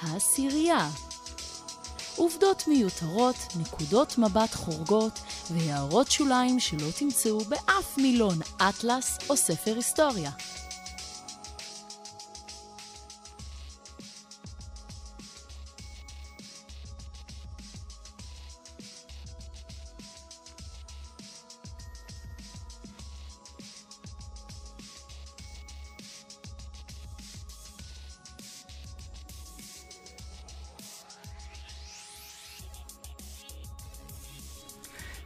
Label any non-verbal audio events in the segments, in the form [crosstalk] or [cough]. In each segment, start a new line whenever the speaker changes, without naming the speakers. העשירייה. עובדות מיותרות, נקודות מבט חורגות והערות שוליים שלא תמצאו באף מילון אטלס או ספר היסטוריה.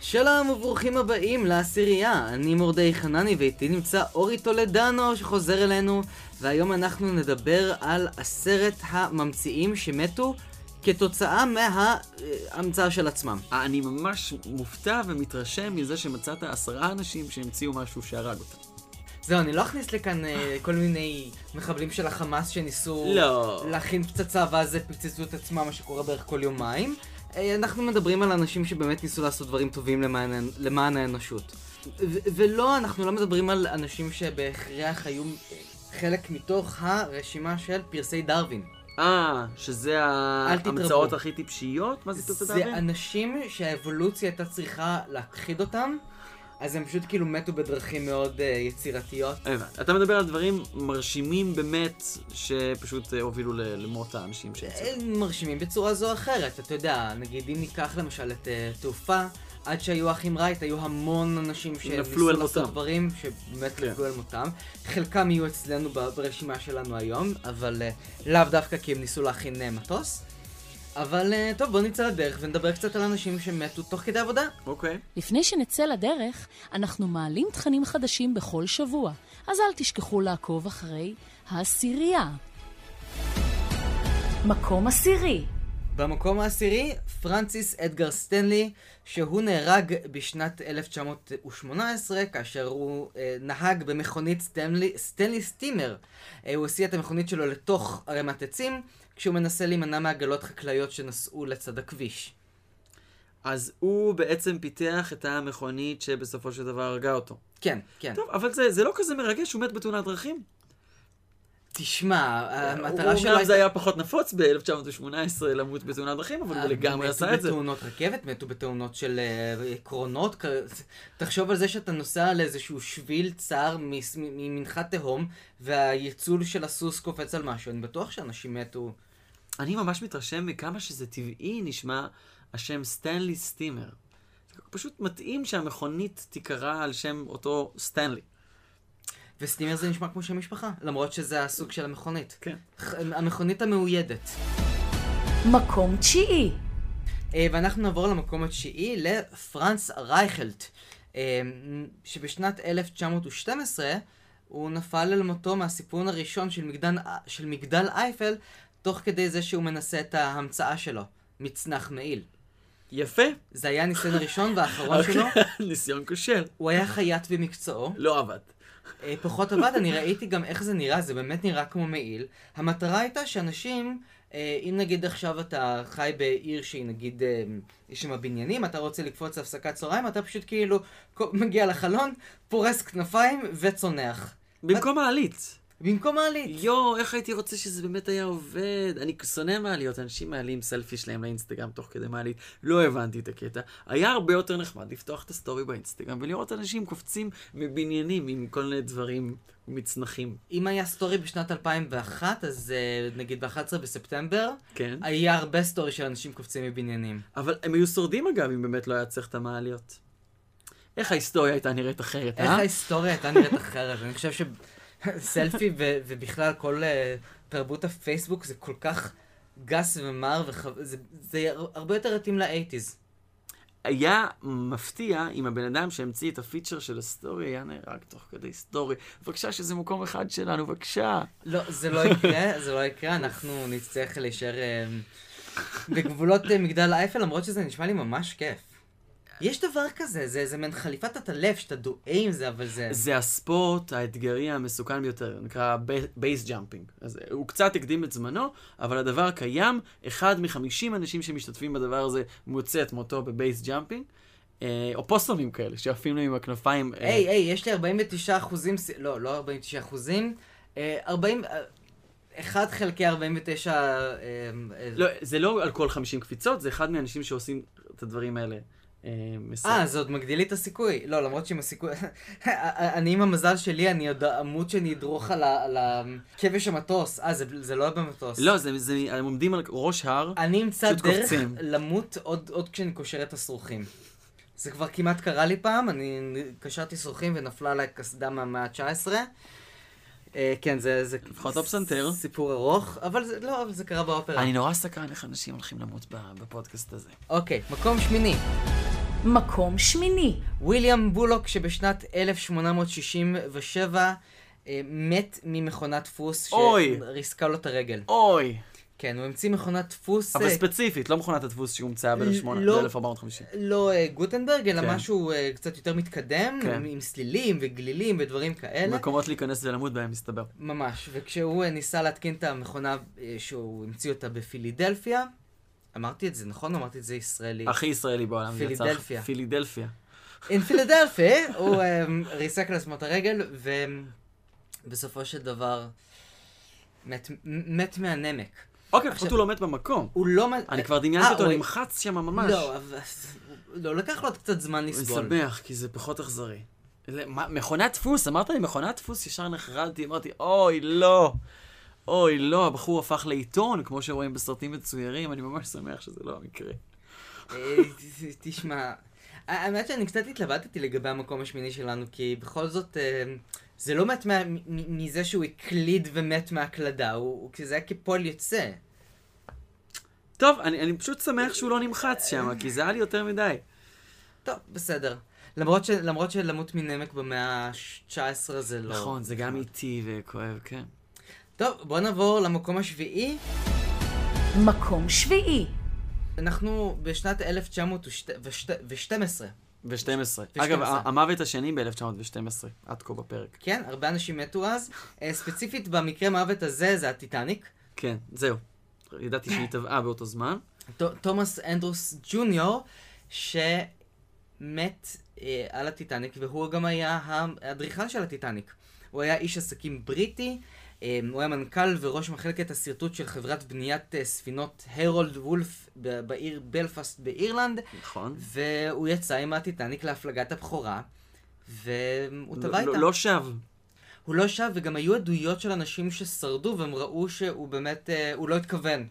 שלום וברוכים הבאים לעשירייה, אני מורדי חנני ואיתי נמצא אורי טולדנו שחוזר אלינו והיום אנחנו נדבר על עשרת הממציאים שמתו כתוצאה מההמצאה של עצמם.
אה, אני ממש מופתע ומתרשם מזה שמצאת עשרה אנשים שהמציאו משהו שהרג אותם.
זהו, אני לא אכניס לכאן אה, כל מיני מחבלים של החמאס שניסו
לא.
להכין פצצה ואז פוצצו את עצמם, מה שקורה בערך כל יומיים. אה, אנחנו מדברים על אנשים שבאמת ניסו לעשות דברים טובים למען, האנ- למען האנושות. ו- ולא, אנחנו לא מדברים על אנשים שבהכרח היו אה, חלק מתוך הרשימה של פרסי דרווין.
אה, שזה
תתרבו.
ההמצאות הכי טיפשיות? מה זה פרצת
זה
האבן?
אנשים שהאבולוציה הייתה צריכה להכחיד אותם, אז הם פשוט כאילו מתו בדרכים מאוד אה, יצירתיות.
הבנתי. אתה מדבר על דברים מרשימים באמת, שפשוט אה, הובילו ל- למות האנשים שהמציאו.
הם מרשימים בצורה זו או אחרת, אתה יודע, נגיד אם ניקח למשל את אה, תעופה, עד שהיו האחים רייט היו המון אנשים
נפלו
שניסו
אל
לעשות
מותם.
דברים שבאמת
כן.
נפלו אל מותם, חלקם יהיו אצלנו ב- ברשימה שלנו היום, אבל אה, לאו דווקא כי הם ניסו להכין אה, מטוס. אבל אה, טוב, בוא נצא לדרך ונדבר קצת על אנשים שמתו תוך כדי עבודה.
אוקיי.
לפני שנצא לדרך, אנחנו מעלים תכנים חדשים בכל שבוע, אז אל תשכחו לעקוב אחרי העשירייה. מקום עשירי,
במקום העשירי, פרנסיס אדגר סטנלי, שהוא נהרג בשנת 1918, כאשר הוא אה, נהג במכונית סטנלי, סטנלי סטימר. אה, הוא הסיע את המכונית שלו לתוך ערימת עצים, כשהוא מנסה להימנע מעגלות חקלאיות שנסעו לצד הכביש.
אז הוא בעצם פיתח את המכונית שבסופו של דבר הרגה אותו.
כן, כן.
טוב, אבל זה, זה לא כזה מרגש, הוא מת בתאונת דרכים.
תשמע, אה, המטרה
הוא-
שלו
אומנם זה היה פחות נפוץ ב-1918 למות בתאונת דרכים, אבל הוא לגמרי עשה את זה.
אה, מתו בתאונות רכבת, מתו בתאונות של אה, קרונות. כ- תחשוב על זה שאתה נוסע על איזשהו שביל צר מס- מ- ממנחת תהום, והייצול של הסוס קופץ על משהו. אני בטוח שאנשים מתו.
אני ממש מתרשם מכמה שזה טבעי נשמע השם סטנלי סטימר. זה פשוט מתאים שהמכונית תיקרא על שם אותו סטנלי.
וסטימר זה נשמע כמו שם משפחה, למרות שזה הסוג של המכונית.
כן.
ח- המכונית המאוידת.
מקום תשיעי,
אה, ואנחנו נעבור למקום התשיעי, לפרנס רייכלט, אה, שבשנת 1912 הוא נפל אל מותו מהסיפון הראשון של מגדל, של מגדל אייפל, תוך כדי זה שהוא מנסה את ההמצאה שלו, מצנח מעיל.
יפה. לא?
זה היה הניסיון הראשון והאחרון
אוקיי.
שלו,
[laughs] ניסיון כושל.
הוא היה חייט במקצועו,
לא עבד.
אה, פחות עבד, אני ראיתי גם איך זה נראה, זה באמת נראה כמו מעיל. המטרה הייתה שאנשים, אה, אם נגיד עכשיו אתה חי בעיר שהיא נגיד, אה, יש שם בניינים, אתה רוצה לקפוץ להפסקת צהריים, אתה פשוט כאילו כל- מגיע לחלון, פורס כנפיים וצונח.
במקום מעלית.
במקום מעלית.
יואו, איך הייתי רוצה שזה באמת היה עובד. אני שונא מעליות, אנשים מעלים סלפי שלהם לאינסטגרם תוך כדי מעלית. לא הבנתי את הקטע. היה הרבה יותר נחמד לפתוח את הסטורי באינסטגרם ולראות אנשים קופצים מבניינים עם כל מיני דברים מצנחים.
אם היה סטורי בשנת 2001, אז אה, נגיד ב-11 בספטמבר,
כן.
היה הרבה סטורי של אנשים קופצים מבניינים.
אבל הם היו שורדים אגב, אם באמת לא היה צריך את המעליות. איך ההיסטוריה הייתה נראית אחרת,
איך
אה?
ההיסטוריה הייתה נראית אחרת? אני חושב שסלפי ו- ובכלל כל אה, תרבות הפייסבוק זה כל כך גס ומר, וזה הרבה יותר התאים לאייטיז.
היה מפתיע אם הבן אדם שהמציא את הפיצ'ר של הסטורי היה נהרג תוך כדי סטורי. בבקשה, שזה מקום אחד שלנו, בבקשה.
לא, זה לא יקרה, זה לא יקרה, אנחנו נצטרך להישאר אה, בגבולות אה, מגדל אייפל, למרות שזה נשמע לי ממש כיף. יש דבר כזה, זה, זה מעין חליפת הטלף, שאתה דואה עם זה, אבל זה...
זה הספורט האתגרי המסוכן ביותר, נקרא בייס ג'אמפינג. אז אה, הוא קצת הקדים את זמנו, אבל הדבר קיים, אחד מחמישים אנשים שמשתתפים בדבר הזה מוצא את מותו בבייס ג'אמפינג. אה, או פוסטומים כאלה, שעפים להם עם הכנפיים. אה,
היי, היי, יש לי 49 אחוזים, לא, לא 49 אחוזים, 40, אה, 1 חלקי 49... אה, אה,
לא, זה לא על כל 50 קפיצות, זה אחד מהאנשים שעושים את הדברים האלה. אה, מסר.
אה, זה עוד מגדיל לי את הסיכוי. לא, למרות שעם הסיכוי... [laughs] אני עם המזל שלי, אני עוד אמות שאני אדרוך על ה- על הכבש המטוס. אה, זה- זה לא היה במטוס.
לא, זה, זה, הם עומדים על ראש הר.
אני אמצא
פשוט
דרך
קופצים.
למות עוד, עוד כשאני קושר את הסרוכים. זה כבר כמעט קרה לי פעם, אני קשרתי סרוכים ונפלה עליי קסדה מהמאה ה-19. אה, כן, זה... זה
לפחות לא פסנתר.
סיפור ארוך, אבל זה, לא, אבל זה קרה באופרה.
אני נורא סקרן איך אנשים הולכים למות ב- בפודקאסט הזה.
אוקיי, מקום שמיני.
מקום שמיני,
ויליאם בולוק שבשנת 1867 אה, מת ממכונת דפוס
אוי.
שריסקה לו את הרגל.
אוי!
כן, הוא המציא מכונת דפוס...
אבל
אה,
ספציפית, לא מכונת הדפוס שהומצאה
לא.
ב-1450.
לא אה, גוטנברג, אלא
כן.
משהו אה, קצת יותר מתקדם,
כן.
עם סלילים וגלילים ודברים כאלה.
מקומות להיכנס ולמות בהם, מסתבר.
ממש. וכשהוא אה, ניסה להתקין את המכונה אה, שהוא המציא אותה בפילידלפיה, אמרתי את זה, נכון? אמרתי את זה ישראלי.
הכי ישראלי בעולם. זה יצא.
פילידלפיה.
פילידלפיה.
אין פילדלפיה, הוא אה, ריסק לעצמו את הרגל, ובסופו של דבר מת- מת מהנמק.
אוקיי,
עכשיו-
לפחות הוא לא מת במקום.
הוא לא... מ-
אני
אה,
כבר דמיינתי
אה,
אותו
הוא-
נמחץ שם ממש.
לא, אבל... לא, לקח לו עוד קצת זמן
אני
לסבול.
שמח, כי זה פחות אכזרי. ל- מה, מכונת דפוס, אמרת לי מכונת דפוס, ישר נחרדתי, אמרתי, אוי, לא. אוי, לא, הבחור הפך לעיתון, כמו שרואים בסרטים מצוירים, אני ממש שמח שזה לא המקרה.
אה, ת- ת- תשמע, האמת שאני קצת התלבטתי לגבי המקום השמיני שלנו, כי בכל זאת, אה, זה לא מת מה- מ- מ- מזה שהוא הקליד ומת מהקלדה, הוא- הוא- כי זה היה כפועל יוצא.
טוב, אני, אני פשוט שמח שהוא לא נמחץ שם, כי זה היה לי יותר מדי.
טוב, בסדר. למרות ש- למרות שלמות מנמק במאה ה-19 זה לא...
נכון, זה גם איטי וכואב, כן.
טוב, בוא נעבור למקום השביעי.
מקום שביעי,
אנחנו בשנת 1912.
ב-12.
ב-
אגב,
12.
ה- המוות השני ב-1912, עד כה בפרק.
כן, הרבה אנשים מתו אז. אה, ספציפית במקרה מוות הזה זה הטיטניק.
כן, זהו. ידעתי שהיא טבעה באותו זמן.
ת- תומאס אנדרוס ג'וניור, שמת אה, על הטיטניק, והוא גם היה האדריכל של הטיטניק. הוא היה איש עסקים בריטי, אה, הוא היה מנכ"ל וראש מחלקת השרטוט של חברת בניית אה, ספינות הרולד וולף ב- בעיר בלפאסט באירלנד,
נכון.
והוא יצא עם הטיטניק להפלגת הבכורה. והוא
לא-
טבע איתה.
לא- לא שב.
הוא לא שב, וגם היו עדויות של אנשים ששרדו, והם ראו שהוא באמת, אה, הוא לא התכוון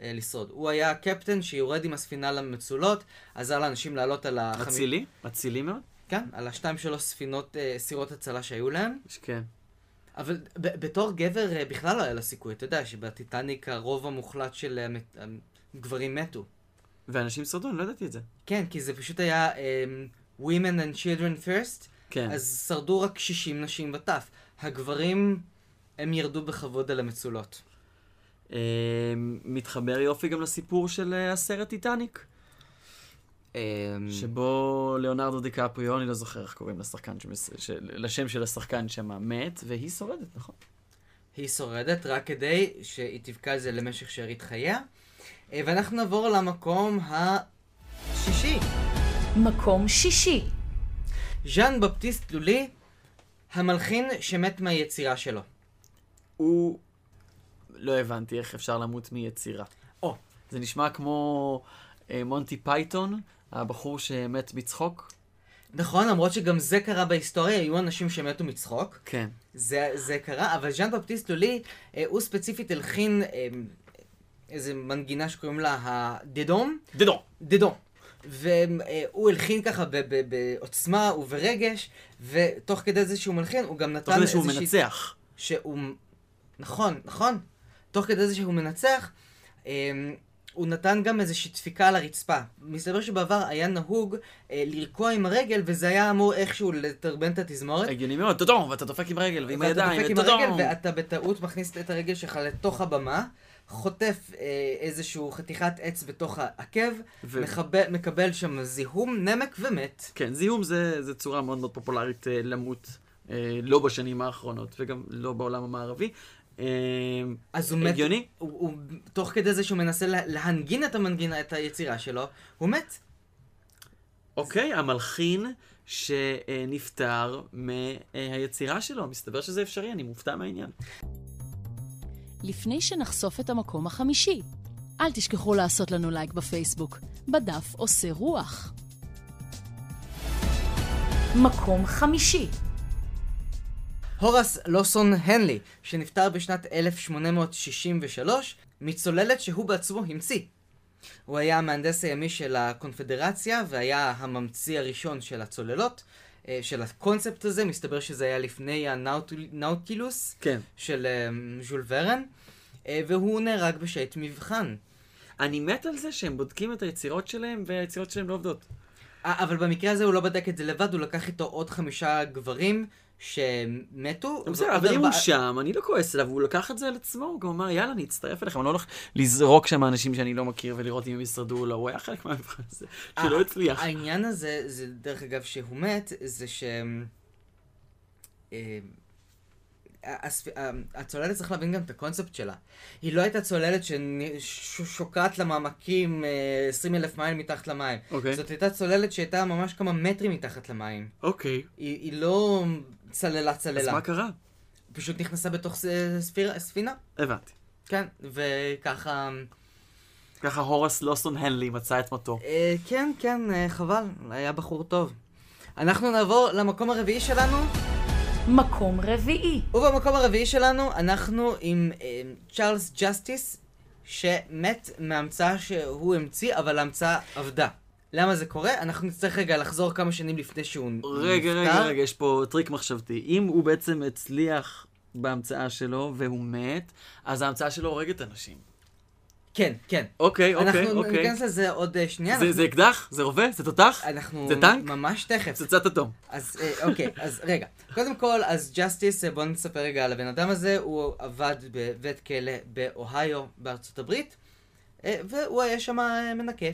אה, לשרוד. הוא היה הקפטן שיורד עם הספינה למצולות, עזר לאנשים לעלות על החמ...
אצילי? אצילי מאוד?
כן, על השתיים שלוש ספינות אה, סירות הצלה שהיו להם.
כן.
אבל ב- בתור גבר אה, בכלל לא היה לו סיכוי. אתה יודע שבטיטניק הרוב המוחלט של אה, מת- אה, גברים מתו.
ואנשים שרדו, אני לא ידעתי את זה.
כן, כי זה פשוט היה אה, Women and Children First,
כן.
אז שרדו רק 60 נשים וטף. הגברים, הם ירדו בכבוד על המצולות.
אה, מתחבר יופי גם לסיפור של אה, הסרט טיטניק,
אמ,
Mm. שבו ליאונרדו דיקפריו, אני לא זוכר איך קוראים לשחקן, שמס- של- לשם של השחקן שם מת, והיא שורדת, נכון?
היא שורדת רק כדי שהיא תבקע את זה למשך שארית חייה. אה, ואנחנו נעבור למקום השישי.
מקום שישי,
ז'אן בפטיסט לולי, המלחין שמת מהיצירה שלו.
הוא... לא הבנתי איך אפשר למות מיצירה.
או.
זה נשמע כמו אה, מונטי פייתון, הבחור שמת מצחוק.
נכון, למרות שגם זה קרה בהיסטוריה, היו אנשים שמתו מצחוק.
כן.
זה, זה קרה, אבל ז'אן בפטיסט לולי, אה, הוא ספציפית הלחין אה, איזה מנגינה שקוראים לה הדדום.
דדו.
דדו. והוא אה, הלחין ככה ב- ב- בעוצמה וברגש, ותוך כדי זה שהוא מלחין, הוא גם
תוך
נתן
כדי שהוא
איזושהי-
מנצח.
שהוא... נכון, נכון. תוך כדי זה שהוא מנצח, אמ, הוא נתן גם איזושהי דפיקה על הרצפה. מסתבר שבעבר היה נהוג אה, לרקוע עם הרגל, וזה היה אמור איכשהו לדרבן את התזמורת.
הגיוני מאוד, דדו, ואתה דופק עם הרגל, ועם
ואתה
הידיים, אה,
דופק עם
ודדו.
הרגל, ואתה בטעות מכניס את הרגל שלך לתוך הבמה, חוטף אה, איזשהו חתיכת עץ בתוך העקב,
ו-
מחבל- מקבל שם זיהום, נמק ומת.
כן, זיהום זה, זה צורה מאוד מאוד פופולרית אה, למות, אה, לא בשנים האחרונות, וגם לא בעולם המערבי. אה,
אז הוא מת...
הגיוני?
הוא, הוא, תוך כדי זה שהוא מנסה לה- להנגין את המנגינה, את היצירה שלו, הוא מת.
אוקיי, המלחין שנפטר מהיצירה שלו, מסתבר שזה אפשרי, אני מופתע מהעניין.
לפני שנחשוף את המקום החמישי. אל תשכחו לעשות לנו לייק בפייסבוק, בדף עושה רוח. מקום חמישי
הורס לוסון הנלי, שנפטר בשנת 1863, מצוללת שהוא בעצמו המציא. הוא היה המהנדס הימי של הקונפדרציה והיה הממציא הראשון של הצוללות, אה, של הקונספט הזה, מסתבר שזה היה לפני הנאוטילוס
כן.
של אה, ז'ול ורן, אה, והוא נהרג בשייט מבחן.
אני מת על זה שהם בודקים את היצירות שלהם, והיצירות שלהם לא עובדות.
אה, אבל במקרה הזה הוא לא בדק את זה לבד, הוא לקח איתו עוד חמישה גברים שמתו.
בסדר,
ועוד
אבל אם הוא
ארבעה-
שם, אני לא כועס עליו, הוא לקח את זה על עצמו, הוא גם אמר, יאללה, אני אצטרף אליכם, אני לא הולך לזרוק שם אנשים שאני לא מכיר ולראות אם הם ישרדו או לא, הוא היה חלק מהמבחן הזה,
אה,
שלא הצליח.
העניין הזה, זה דרך אגב, שהוא מת, זה ש... אה, הספ... ה- הצוללת צריך להבין גם את הקונספט שלה. היא לא הייתה צוללת ששוקעת למעמקים 20 אלף מייל מתחת למים.
אוקיי.
זאת הייתה צוללת שהייתה ממש כמה מטרים מתחת למים.
אוקיי,
היא, היא לא צללה
אז
צללה.
מה קרה?
היא פשוט נכנסה בתוך ס... ספיר... ספינה.
הבנתי.
כן, וככה... אמ,
ככה הורס לוסון הנלי מצא את מותו.
אה, כן, כן, אה, חבל, היה בחור טוב. אנחנו נעבור למקום הרביעי שלנו.
מקום רביעי
ובמקום הרביעי שלנו, אנחנו עם אה, צ'ארלס ג'סטיס, שמת מהמצאה שהוא המציא, אבל ההמצאה עבדה. למה זה קורה? אנחנו נצטרך רגע לחזור כמה שנים לפני שהוא נפטר.
רגע, רגע, רגע, יש פה טריק מחשבתי. אם הוא בעצם הצליח בהמצאה שלו והוא מת, אז ההמצאה שלו הורגת אנשים.
כן, כן.
אוקיי, אוקיי,
אנחנו
אוקיי.
ניכנס לזה עוד אה, שנייה.
זה- זה אקדח? זה רובה? זה תותח?
אנחנו- אנחנו...
זה טנק?
ממש תכף.
פצצת אטום.
אז אה, אוקיי, אז רגע. קודם כל, אז ג'סטיס, אה, בואו נספר רגע על הבן אדם הזה. הוא עבד בבית כלא באוהיו בארצות הברית, אה, והוא היה שם אה, מנקה.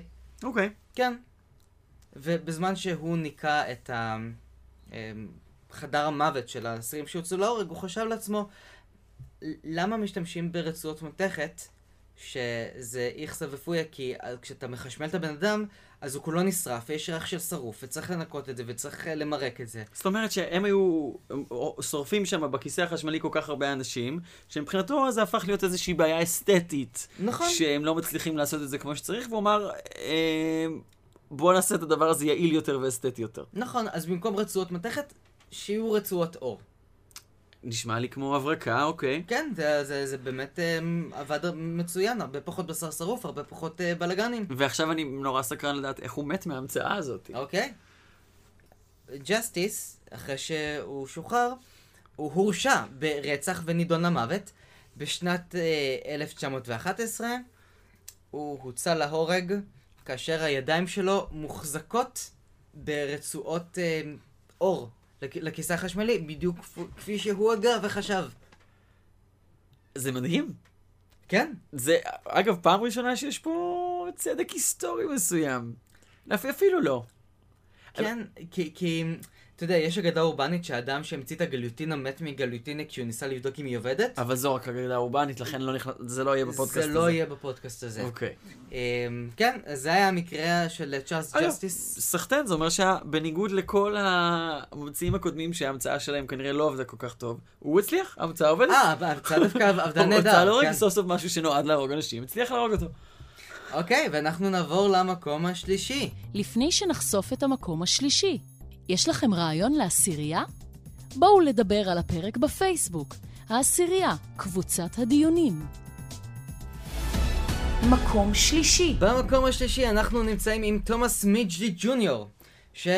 אוקיי.
כן. ובזמן שהוא ניקה את ה... אמ, חדר המוות של האסירים שהוצאו להורג, הוא חשב לעצמו, למה משתמשים ברצועות מתכת, שזה איכסה ופויה, כי אה, כשאתה מחשמל את הבן אדם, אז הוא כולו נשרף, ויש ריח של שרוף, וצריך לנקות את זה, וצריך אה, למרק את זה.
זאת אומרת שהם היו הם, או- שורפים שם בכיסא החשמלי כל כך הרבה אנשים, שמבחינתו זה הפך להיות איזושהי בעיה אסתטית.
נכון.
שהם לא מצליחים לעשות את זה כמו שצריך, והוא אמר, אה, בוא נעשה את הדבר הזה יעיל יותר ואסתטי יותר.
נכון, אז במקום רצועות מתכת, שיהיו רצועות אור.
נשמע לי כמו הברקה, אוקיי.
כן, זה, זה, זה באמת אמ, עבד מצוין, הרבה פחות בשר שרוף, הרבה פחות אה, בלאגנים.
ועכשיו אני נורא סקרן לדעת איך הוא מת מההמצאה הזאת.
אוקיי. ג'סטיס, אחרי שהוא שוחרר, הוא הורשע ברצח ונידון למוות. בשנת אה, 1911 הוא הוצא להורג כאשר הידיים שלו מוחזקות ברצועות אה, אור לכ- לכיסא החשמלי, בדיוק כפו- כפי שהוא הגה וחשב.
זה מדהים.
כן?
זה, אגב, פעם ראשונה שיש פה צדק היסטורי מסוים. אפ- אפילו לא.
כן, כי, כי, אתה יודע, יש אגדה אורבנית שהאדם שהמציא את הגיליוטינה מת מגיליוטינה כשהוא ניסה לבדוק אם היא עובדת.
אבל זו רק אגדה אורבנית, לכן לא נכנס, זה לא יהיה בפודקאסט הזה.
זה לא יהיה בפודקאסט הזה.
אוקיי.
אמ, כן, אז זה היה המקרה של צ'ארלס
אגב,
ג'סטיס.
סחטיין, זה אומר שבניגוד לכל הממציאים הקודמים שההמצאה שלהם כנראה לא עבדה כל כך טוב, הוא הצליח, ההמצאה עובדת.
אה, ההמצאה דווקא
[laughs]
עבדה
הוא רצה
נהדר.
להורג
כן.
סוף סוף משהו שנועד להרוג אנשים, הצליח להרוג אותו.
אוקיי, ואנחנו נעבור למקום השלישי.
לפני שנחשוף את המקום השלישי. יש לכם רעיון לעשירייה? בואו לדבר על הפרק בפייסבוק, העשירייה, קבוצת הדיונים. מקום שלישי
במקום השלישי אנחנו נמצאים עם תומאס מידג'לי ג'וניור, שהוא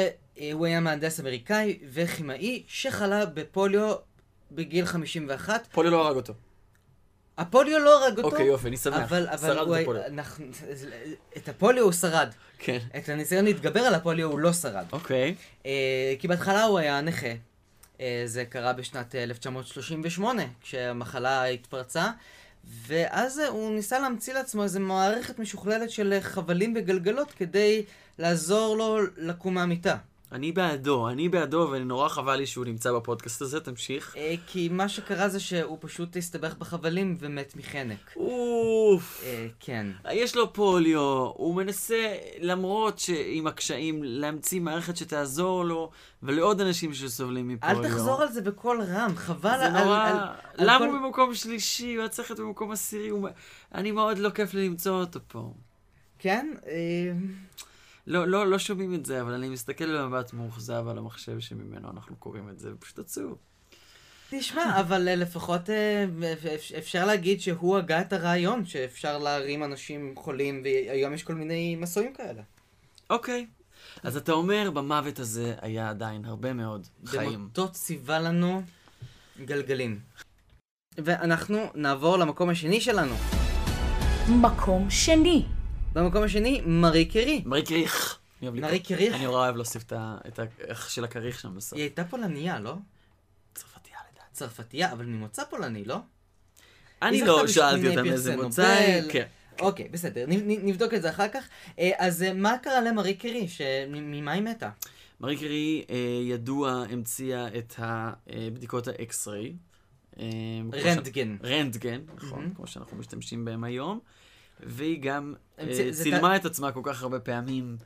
היה מהנדס אמריקאי וכימאי שחלה בפוליו בגיל 51.
פוליו לא הרג אותו.
הפוליו לא הרג אותו.
אוקיי, יופי, אני שמח.
אבל, אבל
שרד
הוא...
את
היה-
הפוליו.
אנחנו- את הפוליו הוא שרד.
כן.
את הניסיון להתגבר על הפוליו הוא לא שרד.
אוקיי.
אה, כי בהתחלה הוא היה נכה. אה, זה קרה בשנת אה, 1938, כשהמחלה התפרצה, ואז אה, הוא ניסה להמציא לעצמו איזו מערכת משוכללת של אה, חבלים וגלגלות כדי לעזור לו לקום מהמיטה.
אני בעדו, אני בעדו, ונורא חבל לי שהוא נמצא בפודקאסט הזה, תמשיך.
אה, כי מה שקרה זה שהוא פשוט הסתבך בחבלים ומת מחנק.
אוף.
אה, כן.
יש לו פוליו, הוא מנסה, למרות שעם הקשיים, להמציא מערכת שתעזור לו, ולעוד אנשים שסובלים מפוליו.
אל תחזור על זה בקול רם, חבל
לא. זה
על...
נורא...
על- על
למה
כל-
הוא במקום שלישי? הוא היה צריך להיות במקום עשירי. הוא... אני מאוד לא כיף לי למצוא אותו פה.
כן? אה,
לא, לא, לא שומעים את זה, אבל אני מסתכל במבט מאוכזב על המחשב שממנו אנחנו קוראים את זה, ופשוט עצוב.
תשמע, אבל אה, לפחות אה, אפ- אפשר להגיד שהוא הגה את הרעיון שאפשר להרים אנשים חולים, והיום יש כל מיני מסועים כאלה.
אוקיי. אז אתה אומר, במוות הזה היה עדיין הרבה מאוד חיים.
במותו ציווה לנו גלגלים. ואנחנו נעבור למקום השני שלנו.
מקום שני,
במקום השני, מארי קרי.
מרי קריך. אני אוהב
מארי
לקרוא.
קרי,
אני נורא אוהב להוסיף את ה- את האיך של הכריך שם בסוף.
היא הייתה פולניה, לא?
צרפתייה לדעתי.
צרפתייה, אבל ממוצא פולני, לא?
אני
זכתה
לא
בשני
שאלתי אותם
פרסי
איזה מוצא.
נובל.
כן.
אוקיי, בסדר, נ- נ- נבדוק את זה אחר כך. אה, אז אה, מה קרה למרי קרי? שממה היא מתה?
מארי קרי, אה, ידוע, המציאה את הבדיקות האקס-ריי. אה, כמו ש-
רנטגן. Mm-hmm.
רנטגן, נכון,
מהמם.
כמו שאנחנו משתמשים בהם היום. והיא גם אה,
המציא- זה
צילמה את עצמה כל כך הרבה פעמים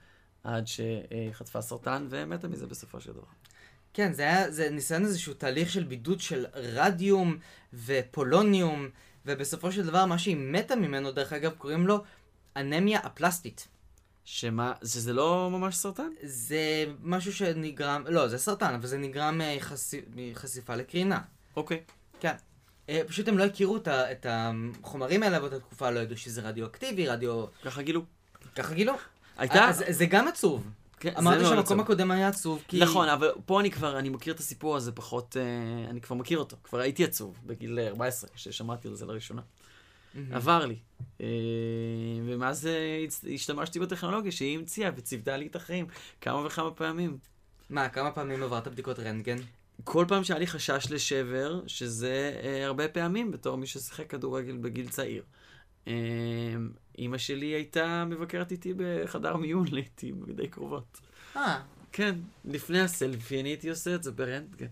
עד שחטפה סרטן ומתה מזה בסופו של דבר.
כן, זה היה, זה ניסיון איזשהו תהליך של בידוד של רדיום ופולוניום, ובסופו של דבר מה שהיא מתה ממנו, דרך אגב, קוראים לו אנמיה הפלסטית.
שמה, שזה לא ממש סרטן?
זה משהו שנגרם, לא, זה סרטן, אבל זה נגרם מחשי, מחשיפה לקרינה.
אוקיי.
כן. אה, פשוט הם לא הכירו את ה- את החומרים האלה באותה תקופה, לא ידעו שזה רדיואקטיבי, רדיו...
ככה גילו.
ככה גילו.
הייתה...
אה, אז זה גם עצוב.
כן, זה
אמרתי
מאוד
שהמקום
עצוב.
הקודם היה עצוב, כי...
נכון, אבל פה אני כבר, אני מכיר את הסיפור הזה פחות, אה, אני כבר מכיר אותו. כבר הייתי עצוב בגיל אה, 14, כששמעתי על זה לראשונה.
מהמם.
עבר לי. אה, ומאז אה, הצ- השתמשתי בטכנולוגיה שהיא המציאה וציוותה לי את החיים כמה וכמה פעמים.
מה, כמה פעמים עברת בדיקות רנטגן?
כל פעם שהיה לי חשש לשבר, שזה אה, הרבה פעמים בתור מי ששיחק כדורגל בגיל צעיר. אה, אימא שלי הייתה מבקרת איתי בחדר מיון לעיתים די קרובות.
אה,
כן, לפני הסלפי אני הייתי עושה את זה ברנטגן.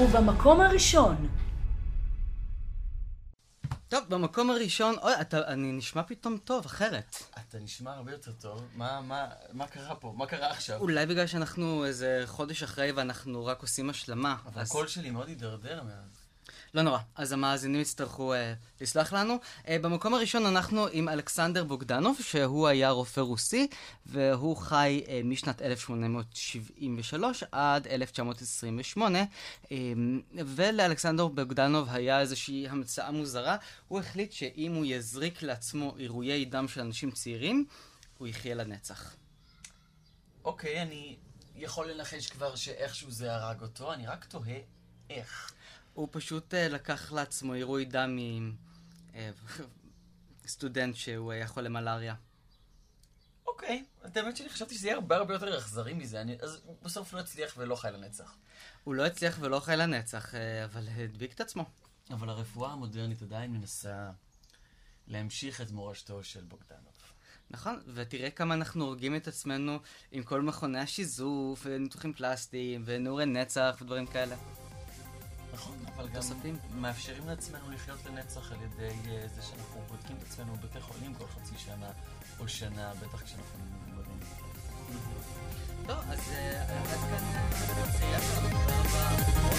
ובמקום הראשון,
טוב, במקום הראשון, אוי, אתה, אני נשמע פתאום טוב, אחרת.
אתה נשמע הרבה יותר טוב. מה, מה, מה קרה פה? מה קרה עכשיו?
אולי בגלל שאנחנו איזה חודש אחרי ואנחנו רק עושים השלמה. אז...
שלי מאוד הידרדר מאז.
לא נורא, אז המאזינים יצטרכו אה, לסלוח לנו. אה, במקום הראשון אנחנו עם אלכסנדר בוגדנוב, שהוא היה רופא רוסי, והוא חי אה, משנת 1873 עד 1928, אה, ולאלכסנדר בוגדנוב היה איזושהי המצאה מוזרה. הוא החליט שאם הוא יזריק לעצמו עירויי דם של אנשים צעירים, הוא יחיה לנצח.
אוקיי, אני יכול לנחש כבר שאיכשהו זה הרג אותו, אני רק תוהה איך.
הוא פשוט אה, לקח לעצמו עירוי דם [laughs] מסטודנט שהוא היה חולה מלאריה.
אוקיי, את האמת שאני חשבתי שזה יהיה הרבה הרבה יותר אכזרי מזה, אני אז בסוף לא אצליח ולא חי לנצח.
הוא לא הצליח ולא חי לנצח, אה, אבל הדביק את עצמו.
אבל הרפואה המודרנית עדיין מנסה להמשיך את מורשתו של בוגדנוב.
נכון, ותראה כמה אנחנו הורגים את עצמנו עם כל מכוני השיזוף, וניתוחים פלסטיים, ונעורי נצח ודברים כאלה.
נכון, אבל גם
תוספים.
מאפשרים לעצמנו לחיות לנצח על ידי אה, זה שאנחנו בודקים את עצמנו בבתי חולים כל חצי שנה או שנה, בטח כשאנחנו מבוגרים.
טוב, אז אה, עד כאן... אה, הפרק הצעיר שלנו. תודה רבה.